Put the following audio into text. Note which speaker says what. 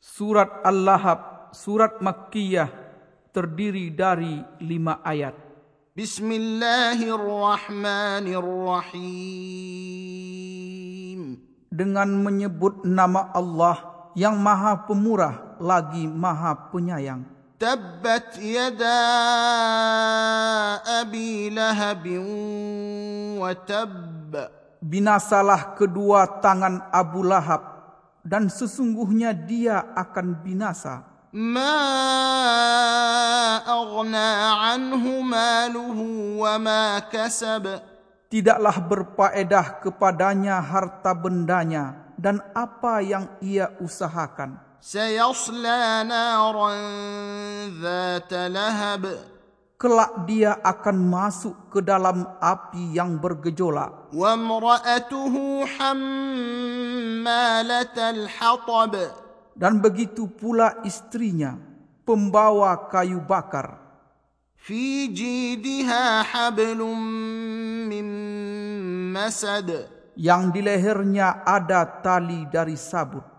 Speaker 1: Surat Al-Lahab, Surat Makkiyah terdiri dari lima ayat.
Speaker 2: بسم الله الرحمن الرحيم
Speaker 1: Dengan menyebut nama Allah yang maha pemurah lagi maha penyayang.
Speaker 2: تبت يدا ابي لهب وتب
Speaker 1: Binasalah kedua tangan Abu Lahab dan sesungguhnya dia akan binasa.
Speaker 2: ما اغنى عنه ماله وما كسب
Speaker 1: Tidaklah berpaedah kepadanya harta bendanya dan apa yang ia usahakan.
Speaker 2: سيصلى نارا ذات لهب
Speaker 1: Kelak dia akan masuk ke dalam api yang bergejolak.
Speaker 2: وامراته حماله الحطب
Speaker 1: Dan begitu pula istrinya, pembawa kayu bakar.
Speaker 2: في جيدها حبل من مسد
Speaker 1: Yang di lehernya ada tali dari sabut.